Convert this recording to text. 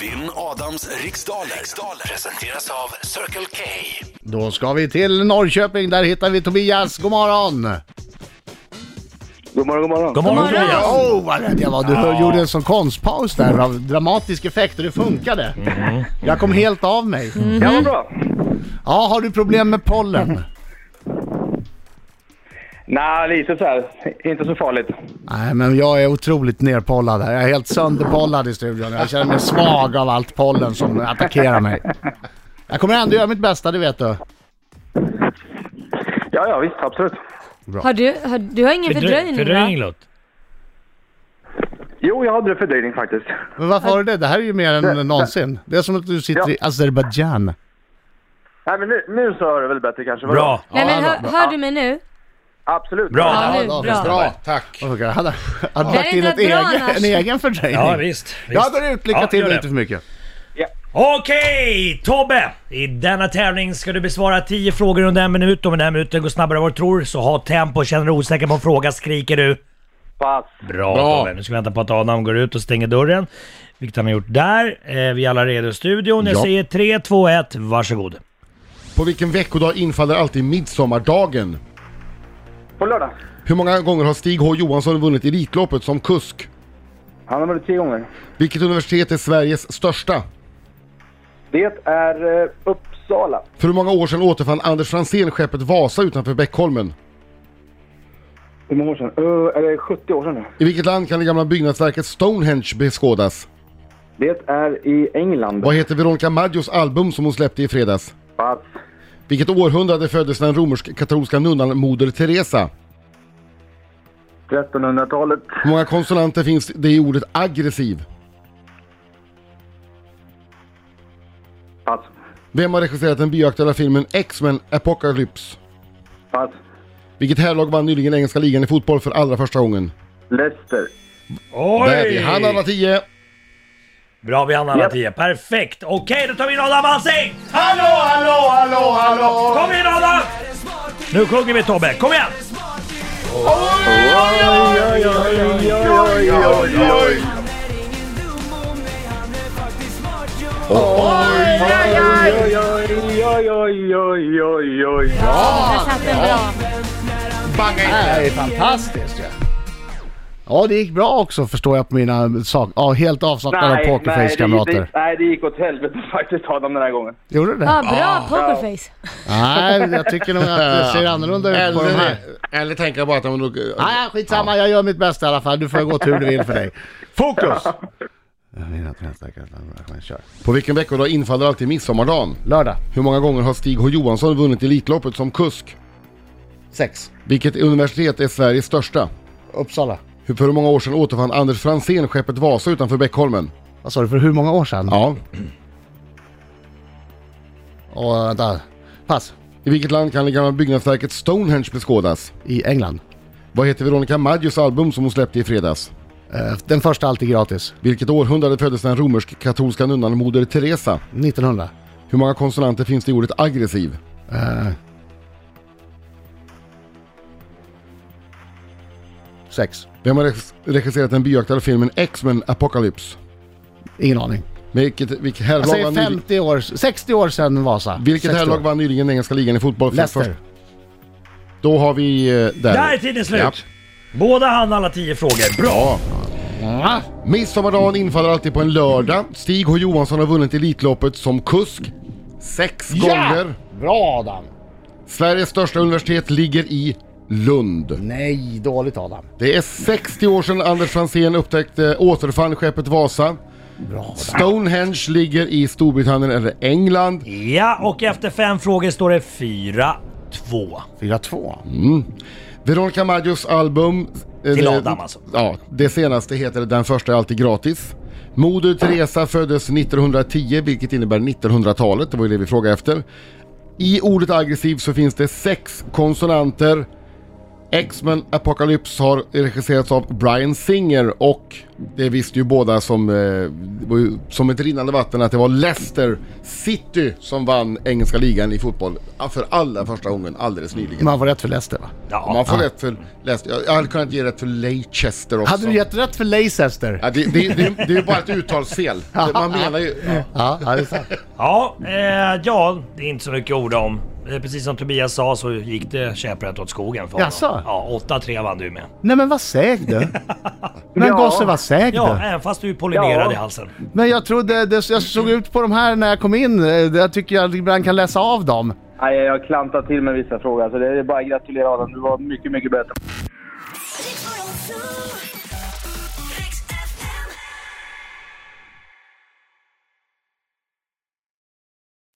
Vinn Adams riksdaler. riksdaler presenteras av Circle K. Då ska vi till Norrköping, där hittar vi Tobias. God morgon! God morgon, god morgon. God morgon Tobias! Åh, oh, vad rädd jag var! Du hör- gjorde en sån konstpaus där av dramatisk effekt och det funkade. Mm. Jag kom helt av mig. Ja, vad bra. Ja, har du problem med Mm. pollen? Nej, lite så här. Inte så farligt. Nej, men jag är otroligt nerpollad här. Jag är helt sönderpollad i studion. Jag känner mig svag av allt pollen som attackerar mig. Jag kommer ändå göra mitt bästa, det vet du. Ja, ja, visst. Absolut. Har du, har, du har ingen fördröjning, Fördröjning va? Lott. Jo, jag hade fördröjning faktiskt. Men varför har du det? Det här är ju mer än någonsin. Det är som att du sitter i Azerbajdzjan. Nej, men nu, nu så hör du väl bättre kanske? vadå? Bra. Nej men Ja, hör, bra. hör du mig nu? Absolut. Bra. Ja, nu, då, bra. bra. tack. Okej, Han hade han hade Det lagt hade in ett inte varit bra egen, annars. en egen fördröjning. Ja visst. visst. Ja, då är det ut. Lycka Ja, till gör och det. inte för mycket. Okej, Tobbe! I denna tävling ska du besvara 10 frågor under en minut. Om den här minuten går snabbare än vad du tror, så ha tempo. Känner du osäker på en fråga skriker du. Pass. Bra, Bra. Tobbe. Nu ska vi vänta på att Adam går ut och stänger dörren. Vilket han har gjort där. Eh, vi är alla redo i studion. Jag Ja. säger 3, 2, 1, varsågod. På vilken veckodag infaller alltid midsommardagen? På lördag. Hur många gånger har Stig H Johansson vunnit Elitloppet som kusk? Han har varit tre gånger. Vilket universitet är Sveriges största? Det är eh, Uppsala. För hur många år sedan återfann Anders Franzén skeppet Vasa utanför Bäckholmen? Hur många år sedan? Uh, är det 70 år sedan nu? I vilket land kan det gamla byggnadsverket Stonehenge beskådas? Det är i England. Vad heter Veronica Maggios album som hon släppte i fredags? Pass. Vilket århundrade föddes den romersk-katolska nunnan Moder Teresa? 1300-talet. Hur många konsonanter finns det i ordet aggressiv? Pass. Vem har regisserat den bioaktuella filmen X-Men Apocalypse? Pass. Vilket herrlag vann nyligen engelska ligan i fotboll för allra första gången? Leicester. Oj! Där är han alla tio! Bra, vi hann alla Japp. 10. Perfekt! Okej, då tar vi in Adam Alsing! Hallå, hallå, hallå, hallå! Kom in Adam! Nu sjunger vi Tobbe, kom igen! Oj, oj, oj, oj, oj, oj. Där satt den bra. Det här är fantastiskt ju. Ja, det gick bra också förstår jag på mina saker. Ja, helt avsaknad av det, pokerface-kamrater. det, nej, det gick åt helvete faktiskt Adam den här gången. Gjorde du det? Ja, bra pokerface. Nej, jag tycker nog att det ser annorlunda ut på de här. Eller, eller tänker jag bara att de... Nej, ja, skitsamma. Jag gör mitt bästa i alla fall. Du får gå till hur du vill för dig. Fokus! Kör. På vilken veckodag infaller alltid midsommardagen? Lördag. Hur många gånger har Stig H Johansson vunnit Elitloppet som kusk? Sex. Vilket universitet är Sveriges största? Uppsala. Hur för hur många år sedan återfann Anders Franzén skeppet Vasa utanför Bäckholmen? Vad sa du? För hur många år sedan? Ja. Och, vänta. Pass. I vilket land kan det gamla byggnadsverket Stonehenge beskådas? I England. Vad heter Veronica Maggios album som hon släppte i fredags? Eh, Den första alltid gratis. Vilket århundrade föddes den romersk-katolska nunnan Moder Teresa? 1900. Hur många konsonanter finns det i ordet aggressiv? Sex. Vem har reg- regisserat den byaktade filmen X-Men Apocalypse? Ingen aning. Vilket, vilket Jag herrlag säger vann nyligen, 50 år, 60 år sedan Vasa. vilket 60 herrlag år. vann nyligen engelska ligan i fotboll? för Leicester. först- Då har vi... eh, Där, Där är tiden slut! Ja. Båda hann alla 10 frågor. Bra! Ja. Midsommardagen infaller alltid på en lördag. Stig H Johansson har vunnit Elitloppet som kusk. Sex gånger. Bra Adam! Sveriges största universitet ligger i Lund. Nej, dåligt Adam. Det är 60 år sedan Anders Franzén upptäckte återfann skeppet Vasa. Bra. Stonehenge ligger i Storbritannien eller England. Ja, och efter fem frågor står det 4-2. 4-2. Veronica Maggios album... eh, Till det- Adam, alltså. Ja, det senaste heter Den första är alltid gratis. Moder Teresa föddes 1910, vilket innebär 1900-talet. Det var ju det vi frågade efter. I ordet aggressiv så finns det sex konsonanter. X-Men Apocalypse har regisserats av Brian Singer och det visste ju båda som, eh, det var ju som ett rinnande vatten att det var Leicester City som vann engelska ligan i fotboll ah, för allra första gången alldeles nyligen. Man får rätt för Leicester va? Man får rätt för Leicester. Jag- Jag hade kunnat ge rätt för Leicester också. Hade du gett rätt för Leicester? Ja, det, det, det, det är ju bara ett uttalsfel. Det- Man menar ju... Ja. Ja, ja det är sant. Ja, eh, ja, det är inte så mycket att orda om. Eh, Precis som Tobias sa så gick det käpprätt åt skogen för honom. Jaså? Ja, 8-3 vann du med. Nej men vad säg du? Men Ja. gosse vad säg du? Ja, även fast du är pollinerad Ja. i halsen. Men jag trodde, det, jag såg ut på de här när jag kom in, Eh, jag tycker jag ibland kan läsa av dem. Nej, jag har klantat till med Alltså, vissa frågor. Så det är bara att gratulera Adam. Du var mycket, mycket bättre. Rick 102.